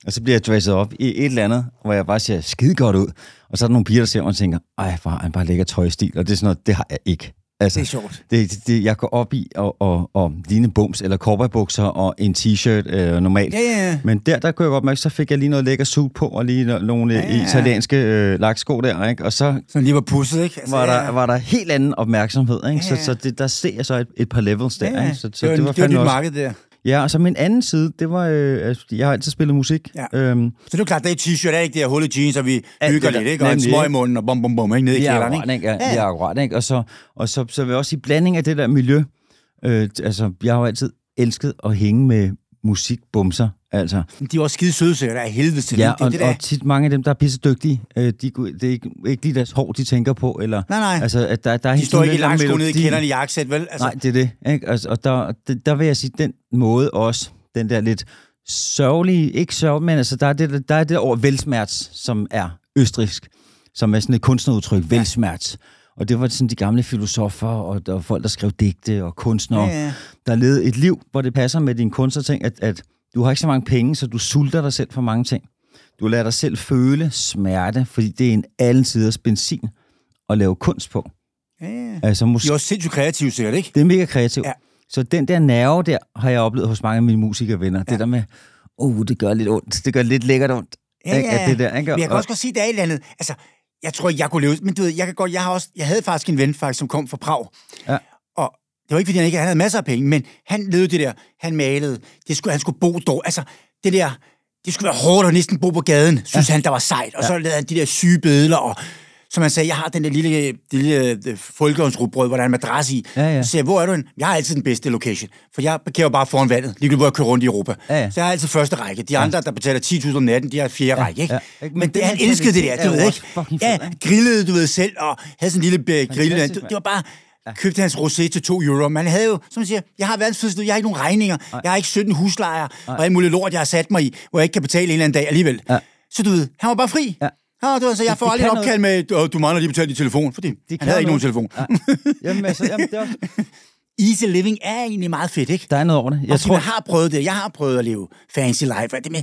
B: Og så bliver jeg dresset op i et eller andet, hvor jeg bare ser skide godt ud. Og så er der nogle piger, der ser mig og tænker, ej, hvor har han bare lækker tøjstil. Og det er sådan noget, det har jeg ikke. Altså,
A: Det er sjovt.
B: det, det, det, jeg går op i og, og, og ligne bums eller cowboybukser og en t-shirt øh, normalt.
A: Ja, ja, ja.
B: Men der, der kunne jeg godt mærke, så fik jeg lige noget lækker suit på, og lige no- nogle ja,
A: ja.
B: ja. italienske øh, laksko der, ikke? Og så
A: Sådan lige var pusset, ikke? Altså,
B: var,
A: ja.
B: der, var der helt anden opmærksomhed, ikke?
A: Ja,
B: Så,
A: ja.
B: så det, der ser jeg så et, et par levels der,
A: Ja, ja.
B: ikke? Så, så
A: det var, det var, det var
B: fandme
A: dit
B: også-
A: marked der.
B: Ja, og så min anden side, det var, øh, altså, jeg har altid spillet musik.
A: Ja.
B: Øhm,
A: Så det er jo klart, det er t-shirt, det er ikke det her hullet jeans, og vi
B: Ja,
A: hygger
B: det er
A: lidt,
B: der-
A: ikke? Og en
B: nemlig,
A: smøg i
B: ikke?
A: munden og bom, bom, bom, ikke? Nede i
B: Lige
A: kælderen,
B: akkurat,
A: ikke?
B: Ja,
A: Ja.
B: lige akkurat, ikke? Og så, og så, så vil jeg også sige, blanding af det der miljø. Øh, t- altså, jeg har jo altid elsket at hænge med musikbumser, altså.
A: De var også skide søde, så det er helvede til
B: Ja,
A: det. Det er
B: og,
A: det, der er.
B: og tit mange af dem, der er pisse dygtige, øh, de, kunne- det er ikke, ikke lige deres hår, de tænker på, eller...
A: Nej, nej.
B: Altså, at der, der er
A: De
B: helt
A: står
B: sådan
A: ikke i
B: lidt lang
A: langsko nede i
B: melodi.
A: kælderen i jakkesæt, vel? Altså,
B: Nej, det er det. Ikke? Altså, og der, det- der vil jeg sige, den måde også, den der lidt sørgelige, ikke sørg, men altså, der er det der, er det over velsmerts, som er østrisk, som er sådan et kunstnerudtryk, velsmerts. Og det var sådan de gamle filosofer og, og folk, der skrev digte og kunstnere,
A: Ja,
B: ja,
A: ja.
B: ja. der levede et liv, hvor det passer med din kunstnerting, at, at du har ikke så mange penge, så du sulter dig selv for mange ting. Du lader dig selv føle smerte, fordi det er en allen siders benzin at lave kunst på.
A: Ja, ja.
B: Altså,
A: De er også sindssygt kreative sikkert, ikke?
B: det er mega kreativt.
A: Ja.
B: Ja. Så den der nerve der, har jeg oplevet hos mange af mine musikervenner. Ja. Det der med, oh, det gør lidt ondt. Det gør lidt lækkert ondt.
A: Ja,
B: Ikke?
A: ja,
B: At Det der, ikke?
A: Men jeg kan
B: Og-
A: også godt sige, at der er et eller andet. Altså, jeg tror ikke, jeg kunne leve... Men du ved, jeg kan godt... Jeg, har også, jeg havde faktisk en ven, faktisk, som kom fra Prag.
B: Ja.
A: Og det var ikke, fordi han ikke han havde masser af penge, men han levede det der. Han malede. Det skulle, han skulle bo dog. Altså, det der... Det skulle være hårdt at næsten bo på gaden, synes ja. han, der var sejt. Og ja. så lavede han de der syge bedler, og som han sagde, jeg har den der lille, det lille øh, folkehåndsrugbrød, hvor der er en madras i.
B: Ja, ja.
A: Så siger jeg, hvor er du hen? Jeg har altid den bedste location, for jeg parkerer jo bare foran vandet, ligegyldigt hvor jeg kører rundt i Europa.
B: Ja, ja.
A: Så jeg har altid første række. De andre, der betaler 10.000 om natten, de har fjerde række, ikke?
B: ja.
A: Men,
B: Ikke?
A: Men
B: Men
A: det,
B: den
A: han elskede det
B: mentalitet
A: der,
B: er
A: du
B: jo
A: ved,
B: også
A: ikke?
B: fucking fed,
A: Ja,
B: ikke?
A: grillede, du ved selv, og havde sådan en lille øh, grill. Det,
B: Fantastisk,
A: det
B: mand.
A: var bare... Købte hans rosé til 2 euro. Man havde jo, som man siger, jeg har verdens fedeste liv, jeg har ikke nogen regninger, jeg har ikke 17 huslejer, og alt muligt lort, jeg har sat mig i, hvor jeg ikke kan betale en eller anden dag alligevel.
B: Ja.
A: Så du ved, han var bare fri.
B: Ja.
A: Ja, du ved, så jeg får
B: det
A: aldrig et
B: kan
A: opkald med, "Åh, du mangler lige betalt din telefon, fordi
B: det
A: han
B: kan
A: havde ikke nogen
B: noget.
A: telefon.
B: Ja. Jamen, altså, jamen, det er også,
A: Easy living er egentlig meget fedt, ikke?
B: der er noget over det.
A: Jeg
B: Jeg
A: tror,
B: tror,
A: jeg har prøvet det. Jeg har prøvet at leve fancy life. Det med,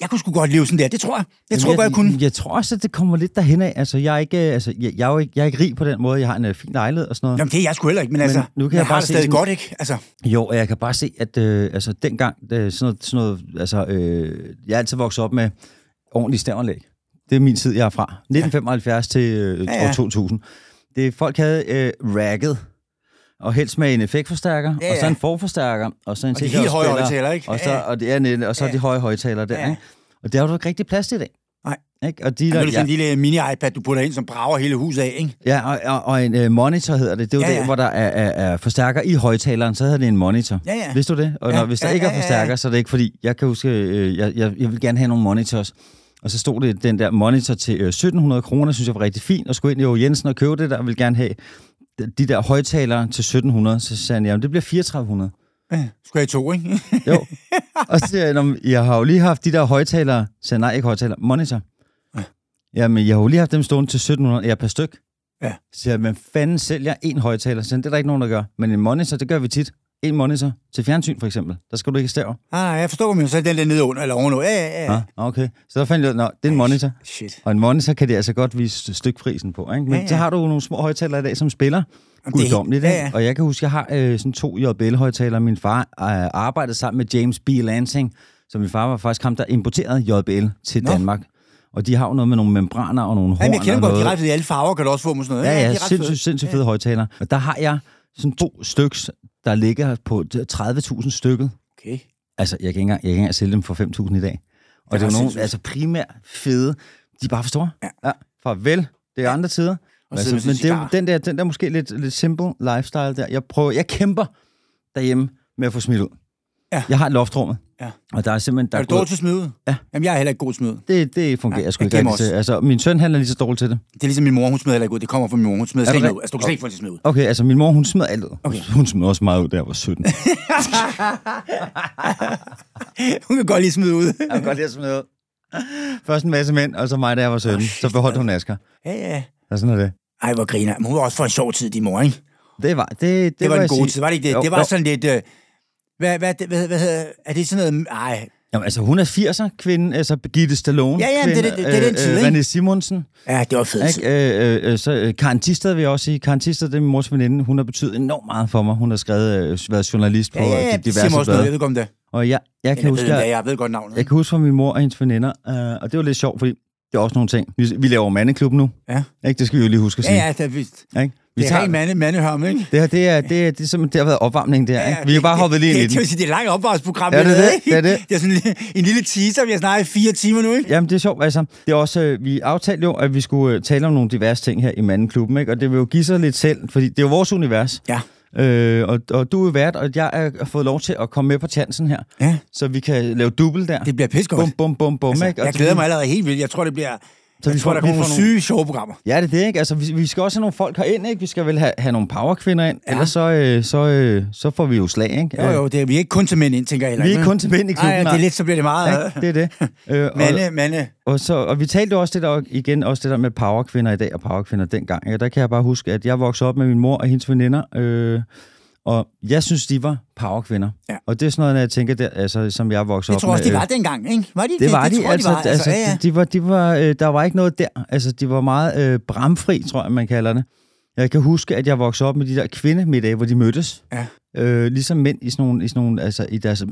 A: jeg kunne sgu godt leve sådan der. Det tror jeg. Jeg tror
B: Jamen,
A: godt, jeg kunne.
B: Jeg tror også, at det kommer lidt derhen af. Altså, jeg er ikke, øh, altså, jeg, jeg er jo ikke, jeg er ikke rig på den måde. Jeg har en øh, fin lejlighed og sådan noget.
A: Jamen, det er jeg sgu heller ikke, men, altså,
B: nu kan jeg
A: har
B: bare
A: det
B: se
A: stadig
B: sådan-
A: godt, ikke? Altså,
B: Jo, og jeg kan bare se, at øh, altså, dengang, øh, sådan noget, sådan noget, altså, øh, jeg er altid vokset op med ordentligt stævnlæg. Det er min tid, jeg er fra. 1975 til øh,
A: Ja, ja.
B: år 2000. Det, folk havde øh, racket, og helst med en effektforstærker,
A: Ja,
B: ja, og så
A: ja.
B: en forforstærker, og så en
A: de helt
B: CD-afspiller,
A: høje højtalere, ikke?
B: Og så,
A: Ja, ja.
B: og, det er, net- og så
A: Ja.
B: ja. de høje højtalere der,
A: Ja.
B: ja. ikke? Og det har du ikke rigtig plads til i dag.
A: Nej.
B: Ikke? Og de,
A: nu
B: der,
A: er det
B: ja,
A: sådan en lille mini-iPad, du putter ind, som brager hele huset af, ikke?
B: ja, og, og, og en øh, monitor hedder det. Det er jo
A: Ja,
B: ja, ja.
A: ja.
B: der, hvor der er, er, er forstærker i højtaleren, så hedder det en monitor.
A: Ja, ja.
B: Vidste du det? Og
A: Ja,
B: når, hvis der
A: ja,
B: ikke
A: ja,
B: er
A: ja, ja.
B: forstærker, så er det ikke fordi... Jeg kan huske, øh, jeg, jeg, jeg vil gerne have nogle monitors. Og så stod det den der monitor til øh, 1700 kroner, synes jeg var rigtig fint, og skulle ind i Aage Jensen og købe det der, og ville gerne have de- de der højtalere til 1700. Så sagde han, jamen det bliver 3400.
A: Skulle jeg i to, ikke?
B: Jo. og så siger jeg, "Nå, men jeg har jo lige haft de der højtalere. Så siger jeg, nej, ikke højtalere, monitor. Jamen, jeg har jo lige haft dem stående til 1700, ja, per styk.
A: Ja.
B: Så siger jeg, men fanden sælger en højtaler? Så siger han, det er der ikke nogen, der gør. Men en monitor, det gør vi tit. En monitor til fjernsyn, for eksempel. Der skal du ikke stave.
A: Nej, nej, Ah, jeg forstår, men så er den der nede under eller ovenunder. Ja, ja, ja.
B: Ja. okay. Så der fandt jeg ud af, nå, det er en monitor.
A: Shit.
B: Og en monitor kan det altså godt vise stykprisen på, ikke? Men
A: Ja, ja.
B: så har du jo nogle små højtalere i dag, som spiller
A: det er
B: guddommeligt,
A: helt-
B: ja,
A: ja, ja.
B: ja. Og jeg kan huske, jeg har øh, sådan to JBL-højtalere. Min far øh, arbejdede sammen med James B. Lansing, så min far var faktisk ham, der importerede JBL til
A: Nå.
B: Nå. Danmark. Og de har jo noget med nogle membraner og nogle horn
A: Jamen, jeg kender
B: og
A: godt,
B: noget.
A: de er ret fede i alle farver, kan du også få dem og sådan noget.
B: Ja,
A: de
B: ja,
A: er ret
B: sindssygt,
A: fede.
B: sindssygt fede højtalere. Og der har jeg sådan to styks, der ligger på 30.000 stykket.
A: Okay.
B: Altså, jeg kan ikke engang, jeg kan ikke engang sælge dem for 5.000 i dag. Og det er jo nogle,
A: sindssygt.
B: altså primært fede, de er bare for store. Ja. ja. Farvel, det er andre tider.
A: Og
B: altså,
A: sidde med
B: men
A: sin
B: det er jo
A: cigar.
B: den der, den der måske lidt, lidt simple lifestyle der. Jeg prøver, jeg kæmper derhjemme med at få smidt ud.
A: Ja.
B: Jeg har et loftrummet,
A: Ja.
B: og der er simpelthen... Der
A: Er du dårlig
B: gået-
A: til at smide ud?
B: Ja.
A: Jamen, jeg er heller ikke god til at smide ud.
B: det, det fungerer
A: Ja,
B: ja, sgu
A: jeg
B: ikke
A: gemmer
B: rigtig til.
A: også.
B: Altså, min søn, han er lige så dårlig til det.
A: Det er ligesom min mor, hun smider heller ikke ud. Det kommer fra min mor, hun smider
B: Er
A: slet
B: du
A: ikke
B: rigtig-
A: ud. Altså, du kan slet ikke få det til at smide ud.
B: Okay, altså min mor, hun smed alt ud.
A: Okay.
B: Hun smed også meget ud, da jeg var 17. jeg
A: Hun kan godt lige smide ud.
B: kan godt lide at smide ud. Først en masse mænd, og så mig, da jeg var 17. så
A: altså.
B: beholdt hun Asger.
A: Ja, ja.
B: Og sådan er det.
A: Ej, hvor griner. Men hun var også for en sjov tid, din mor, ikke? Det,
B: Det var, det, det,
A: det var
B: må
A: en
B: jeg
A: god
B: sige.
A: tid, var det ikke det?
B: Jo,
A: det var
B: jo.
A: sådan lidt... Øh, hvad, hvad, hvad, hvad, hvad, hedder- er det sådan noget... Ej,
B: Jamen, altså, hun er 80'er kvinde, altså Birgitte Stallone.
A: Ja, ja, men det-
B: kvinde,
A: det- det- det er den tid,
B: øh,
A: ikke?
B: René Simonsen.
A: ja, det var fedt.
B: Ikke? Øh, øh, øh, så øh, Karen Tisted vil jeg også sige. Karen Tisted, det er min mors veninde. Hun har betydet enormt meget for mig. Hun har skrevet, øh, været journalist på
A: Ja, ja,
B: øh,
A: ja.
B: de
A: Det siger mig
B: diverse
A: også noget. Jeg
B: blade.
A: ved godt om det.
B: Og jeg, jeg kan
A: Jeg ved,
B: huske,
A: jeg,
B: jeg,
A: jeg ved godt navnet.
B: jeg kan huske fra min mor og hendes veninder, øh, og det var lidt sjovt, fordi det er også nogle ting. Vi, vi laver mandeklub nu.
A: Ja.
B: Ikke? Det skal vi jo lige huske at
A: Ja,
B: sige.
A: ja, det er vist.
B: Ikke? Vi
A: Det er ren mande, mandehørm, ikke?
B: det her, det er, det er, det er simpelthen, det har været opvarmning der.
A: Ja,
B: ikke? Vi har bare hoppet lige ind
A: det,
B: i
A: det, det,
B: den.
A: vil sige, det er et langt opvarmningsprogram.
B: Ja,
A: vi har
B: det er
A: lavet,
B: det.
A: ikke?
B: Det er det.
A: Det er sådan en, en lille teaser, vi har snakket i fire timer nu, ikke?
B: Jamen, det er sjovt, altså. Det er også, øh, vi aftalte jo, at vi skulle øh, tale om nogle diverse ting her i mandenklubben, ikke? Og det vil jo give sig lidt selv, fordi det er jo vores univers.
A: Ja.
B: Øh, og, og du er vært, og jeg er- har fået lov til at komme med på chancen her,
A: Ja,
B: så vi kan lave dubbel der.
A: det bliver pissegodt.
B: bum, bum, bum, bum,
A: Altså,
B: ikke? Og
A: jeg
B: det-
A: glæder mig allerede helt vildt. Jeg tror, det bliver...
B: Så
A: Så vi
B: vi
A: jeg tror, der
B: får- vi
A: kommer
B: får
A: nogle
B: nogle-
A: syge, sjove programmer.
B: Ja, det er det, ikke? Altså, vi, vi skal også have nogle folk herind, ikke? Vi skal vel have, have nogle powerkvinder ind, ja.
A: Ja.
B: ellers så, øh, så, øh, så får vi jo slag, ikke?
A: Jo, jo, det er, vi er ikke kun til mænd ind, tænker jeg. heller
B: Vi er
A: ikke,
B: ikke kun til mænd i klubben,
A: Nej, det er lidt, så bliver det meget...
B: Ikke? Det er det. Øh, og-
A: Mande, mande.
B: Og, så, og vi talte jo også det der, igen også det der med powerkvinder i dag og powerkvinder dengang. Ja, der kan jeg bare huske, at jeg voksede op med min mor og hendes veninder, øh, og jeg synes, de var powerkvinder.
A: Ja.
B: Og det er sådan noget, når jeg tænker, der, altså, som jeg voksede
A: Jeg
B: op
A: tror
B: med.
A: også, de
B: øh,
A: var dengang, ikke? Var de ikke
B: det var de,
A: tror,
B: altså,
A: var.
B: altså,
A: ja, ja.
B: de, de var, de var, øh, der var ikke noget der. Altså, de var meget øh, bramfri, tror jeg, man kalder det. Jeg kan huske, at jeg voksede op med de der kvindemiddage, hvor de mødtes.
A: Ja.
B: Øh, ligesom mænd i sådan nogle, i sådan nogle altså i deres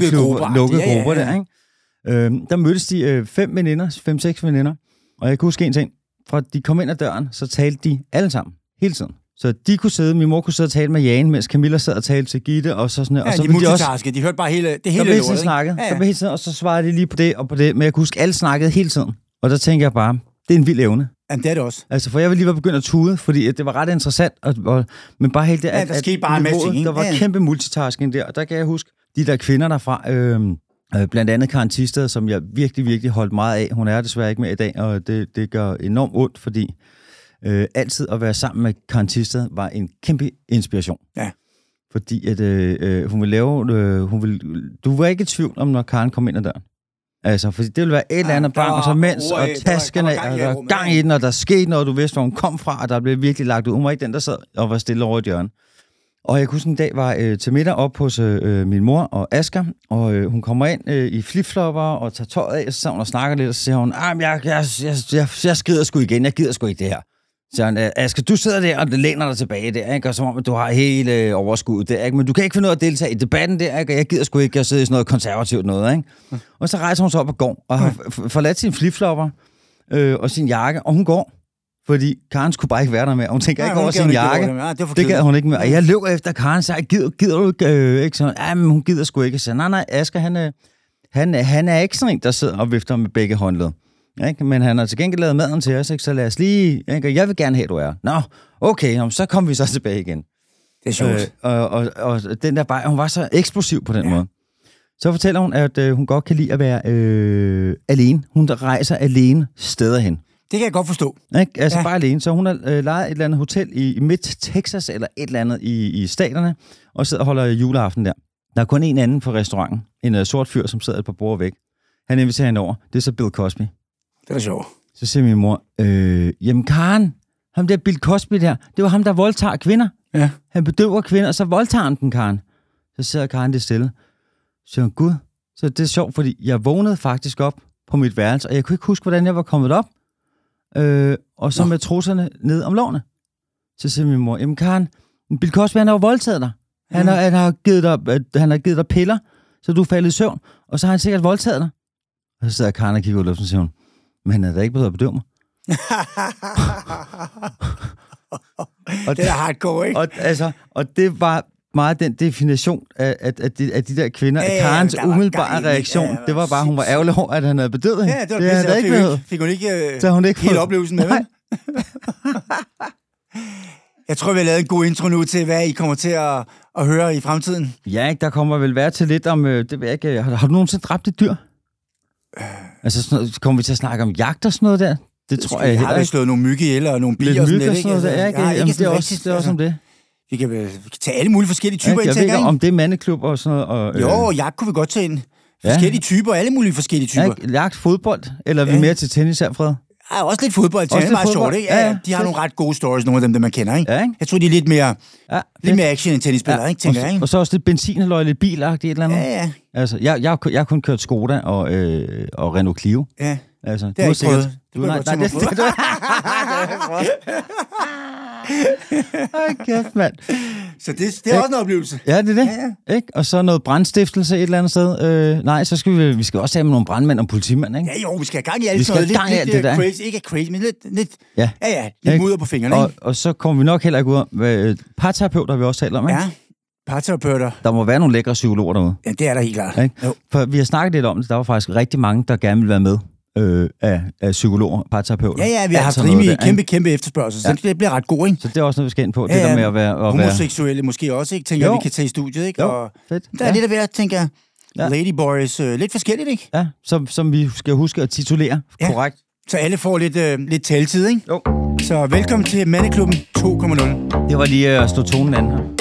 A: grupper.
B: lukkede
A: Ja, ja,
B: grupper
A: ja.
B: der, ikke? Øhm, der mødtes de øh, fem veninder, fem-seks veninder, og jeg kan huske en ting. Fra de kom ind ad døren, så talte de alle sammen, hele tiden. Så de kunne sidde, min mor kunne sidde og tale med Jane, mens Camilla sad og talte til Gitte, og så sådan
A: Ja,
B: og så
A: de
B: ville de også
A: multitaskede. De hørte bare hele, det hele
B: der blev hele
A: lortet,
B: tiden
A: ikke?
B: snakket.
A: Ja,
B: Der
A: ja.
B: blev hele tiden, og så svarede de lige på det og på det. Men jeg kunne huske, alle snakkede hele tiden. Og der tænker jeg bare, det er en vild evne.
A: Jamen, det er det også.
B: Altså, for jeg ville lige være begyndt at tude, fordi at det var ret interessant. Og, og, men bare helt det,
A: Ja,
B: at,
A: der
B: at
A: skete bare en masse
B: niveauet,
A: ting, ikke?
B: Der var
A: Ja, ja.
B: kæmpe multitasking der, og der kan jeg huske de der kvinder derfra, øh, øh, blandt andet Karen Tisted, som jeg virkelig, virkelig holdt meget af. Hun er desværre ikke med i dag, og det, det gør enormt ondt, fordi øh, altid at være sammen med Karen Tisted var en kæmpe inspiration.
A: Ja.
B: Fordi at øh, øh, hun ville lave... Øh, hun ville, du var ikke i tvivl om, når Karen kom ind ad døren. Altså, fordi det ville være et eller
A: Ja,
B: andet
A: der
B: bang, og så
A: var
B: mens,
A: ord
B: og
A: i- der var- der var
B: taskerne,
A: gang i
B: og der var
A: rummet,
B: gang
A: ikke?
B: i den, og der skete noget, du vidste, hvor hun kom fra, og der blev virkelig lagt ud. Hun var ikke den, der sad og var stille over i et hjørne. Og jeg kunne sådan en dag var øh, til middag op hos øh, min mor og Asger, og øh, hun kommer ind øh, i flipflopper og tager tøjet af, og så sidder hun og snakker lidt, og så siger hun, "Ah, men jeg, jeg, jeg, jeg, jeg skider sgu igen, jeg gider sgu ikke det her. Så siger han, "Øh, Asger, du sidder der og læner dig tilbage der, ikke? og som om at du har hele øh, overskuddet der, ikke? men du kan ikke finde ud af at deltage i debatten der, ikke? og jeg gider sgu ikke at sidde i sådan noget konservativt noget. Ikke? Og så rejser hun sig op og går, og har f- forladt sine flipflopper øh, og sin jakke, og hun går. Fordi Karen skulle bare ikke være der med, og hun tænker
A: Nej,
B: ikke
A: hun
B: over
A: gad
B: sin
A: ikke
B: jakke.
A: over det. Ja, det var for
B: det gad
A: kedeligt.
B: hun ikke med. Og jeg løber efter Karen, så jeg gider, gider du ikke? Øh, ikke sådan, ja, men hun gider sgu ikke. Så nej, nej, Asger, han, øh, han, øh, han er ikke sådan en, der sidder og vifter med begge håndled. Ikke? Men han har til gengæld lavet maden til os, ikke? så lad os lige... Ikke? Og jeg vil gerne have, du er. Nå, okay, nå, men så kommer vi så tilbage igen. Øh,
A: Det er sjovt.
B: og, og, og, den der bare, hun var så eksplosiv på den ja. måde. Så fortæller hun, at øh, hun godt kan lide at være øh, alene. Hun rejser alene steder hen.
A: Det kan jeg godt forstå.
B: Ikke? Altså
A: Ja.
B: ja. bare alene. Så hun har øh, lejet et eller andet hotel i, i midt Texas eller et eller andet i, i staterne, og sidder og holder juleaften der. Der er kun en anden fra restauranten, en øh, sort fyr, som sidder et par bord væk. Han inviterer hende over. Det er så Bill Cosby.
A: Det er da sjovt.
B: Så siger min mor, øh, jamen Karen, ham der Bill Cosby der, det var ham, der voldtager kvinder.
A: Ja.
B: Han bedøver kvinder, og så voldtager han den, Karen. Så sidder Karen det stille. Så siger hun, gud. Så det er sjovt, fordi jeg vågnede faktisk op på mit værelse, og jeg kunne ikke huske, hvordan jeg var kommet op. Øh, og så
A: Nå.
B: Nå. med trusserne ned om lårene. Så siger min mor, jamen Karen, Bill Cosby, han har jo voldtaget dig. Han, har, han, har givet dig, øh, han har givet dig piller, så du er faldet i søvn, og så har han sikkert voldtaget dig. Og så sidder Karen og kigger ud i luften og siger hun, men han er da ikke blevet bedøvet mig.
A: Og det er hardcore, ikke?
B: Og, altså, og det var meget den definition af, af, af, de, af de der kvinder.
A: Ja,
B: Ja,
A: ja,
B: Karens
A: der var
B: umiddelbare
A: gang i-
B: reaktion,
A: ja,
B: ja, det var bare, hun var
A: sindssygt.
B: ærgerlig over, at han havde bedøvet hende.
A: Ja, det var
B: det
A: pisse,
B: havde
A: og
B: ikke
A: fik,
B: været.
A: ikke, fik hun ikke, øh,
B: Så har hun ikke
A: hele
B: fået-
A: oplevelsen med, vel? Jeg tror, vi har lavet en god intro nu til, hvad I kommer til at, at høre i fremtiden.
B: Ja, ikke? der kommer vel være til lidt om... øh, Det ved jeg ikke, øh, har, har du nogensinde dræbt et dyr?
A: Øh.
B: Altså, sådan noget, kommer vi til at snakke om jagt og sådan noget der? Det tror jeg
A: jeg har
B: heller
A: jo
B: ikke.
A: slået nogle mygge ihjel og nogle
B: Lidt
A: bier og sådan
B: myg og
A: lidt,
B: sådan noget der, ja, ikke?
A: Jeg har
B: Jamen, det er
A: Altså, sådan
B: også, det er også om
A: rigtigt,
B: det.
A: altså. vi, kan, øh, vi kan tage alle mulige forskellige typer
B: jeg ved
A: indtægter,
B: ikke,
A: ikke?
B: om det er mandeklub og sådan noget. Og,
A: Jo, og jagt kunne vi godt tage ind.
B: Ja.
A: Forskellige typer, alle mulige forskellige
B: Ja,
A: typer.
B: ikke? Jagt, fodbold, eller er vi
A: Ja.
B: mere til tennis her, Fred?
A: Ja, også lidt fodbold. Det
B: Også
A: er
B: lidt
A: meget sjovt,
B: fodbold.
A: ikke? Ja,
B: Ja,
A: ja.
B: ja.
A: De har nogle ret gode stories, nogle af dem, der man kender, ikke?
B: Ja, ikke?
A: Jeg tror, de er lidt mere,
B: Ja,
A: lidt
B: fedt.
A: mere action end tennisspillere, ikke? Tænker
B: og,
A: jeg,
B: så-
A: ikke?
B: og så også lidt benzinhalløj, lidt bilagtigt et eller andet.
A: Ja, ja.
B: Altså, jeg, jeg, har kun- jeg har kun kørt Skoda og, øh, og Renault Clio.
A: ja.
B: Altså, det
A: har jeg ikke prøvet. Det
B: Du,
A: kunne
B: nej,
A: jeg
B: nej,
A: godt
B: det,
A: tænke mig
B: det, det, Ej, kæft, mand.
A: Så det, det er også en oplevelse.
B: Ja, det er det.
A: Ja,
B: Ja. Ikke? Og så noget brandstiftelse et eller andet sted. Øh, nej, så skal vi, vi skal også have med nogle brandmænd og politimænd, ikke?
A: Ja, jo, vi skal have gang i alt
B: Vi skal
A: sådan
B: have gang i
A: noget.
B: alt
A: Lidt, lidt
B: det
A: øh,
B: der.
A: crazy. Ikke crazy, men lidt, lidt
B: Ja.
A: ja, ja, lidt
B: Ikke?
A: mudder på fingrene,
B: Og,
A: ikke?
B: og så kommer vi nok heller ikke ud om, hvad parterapeuter har vi også talt om, ikke?
A: Ja, parterapeuter.
B: Der må være nogle lækre psykologer derude.
A: Ja, det er der helt klart.
B: Ikke?
A: Jo.
B: For vi har snakket lidt om det. Der var faktisk rigtig mange, der gerne ville være med øh, af, af psykologer, parterapeuter.
A: Ja, ja, vi har
B: Alt
A: haft
B: sådan noget
A: rimelig
B: der, ikke?
A: kæmpe, kæmpe efterspørgsel, så det bliver ret god, ikke?
B: Så det er også noget, vi skal ind på. Ja,
A: Ja, ja.
B: det der med at være... At være
A: Homoseksuelle måske også, ikke? Tænker,
B: Jo.
A: vi kan tage i studiet, ikke?
B: Jo,
A: Og
B: fedt.
A: der er
B: ja.
A: lidt af hvert, tænker jeg.
B: Ja.
A: Ladyboys, øh, lidt forskelligt, ikke?
B: Ja, som, som vi skal huske at titulere
A: Ja.
B: ja. korrekt.
A: Så alle får lidt, øh, lidt taltid, ikke?
B: Jo.
A: Så velkommen til Mandeklubben 2.0.
B: Det var lige øh, at slå tonen an her.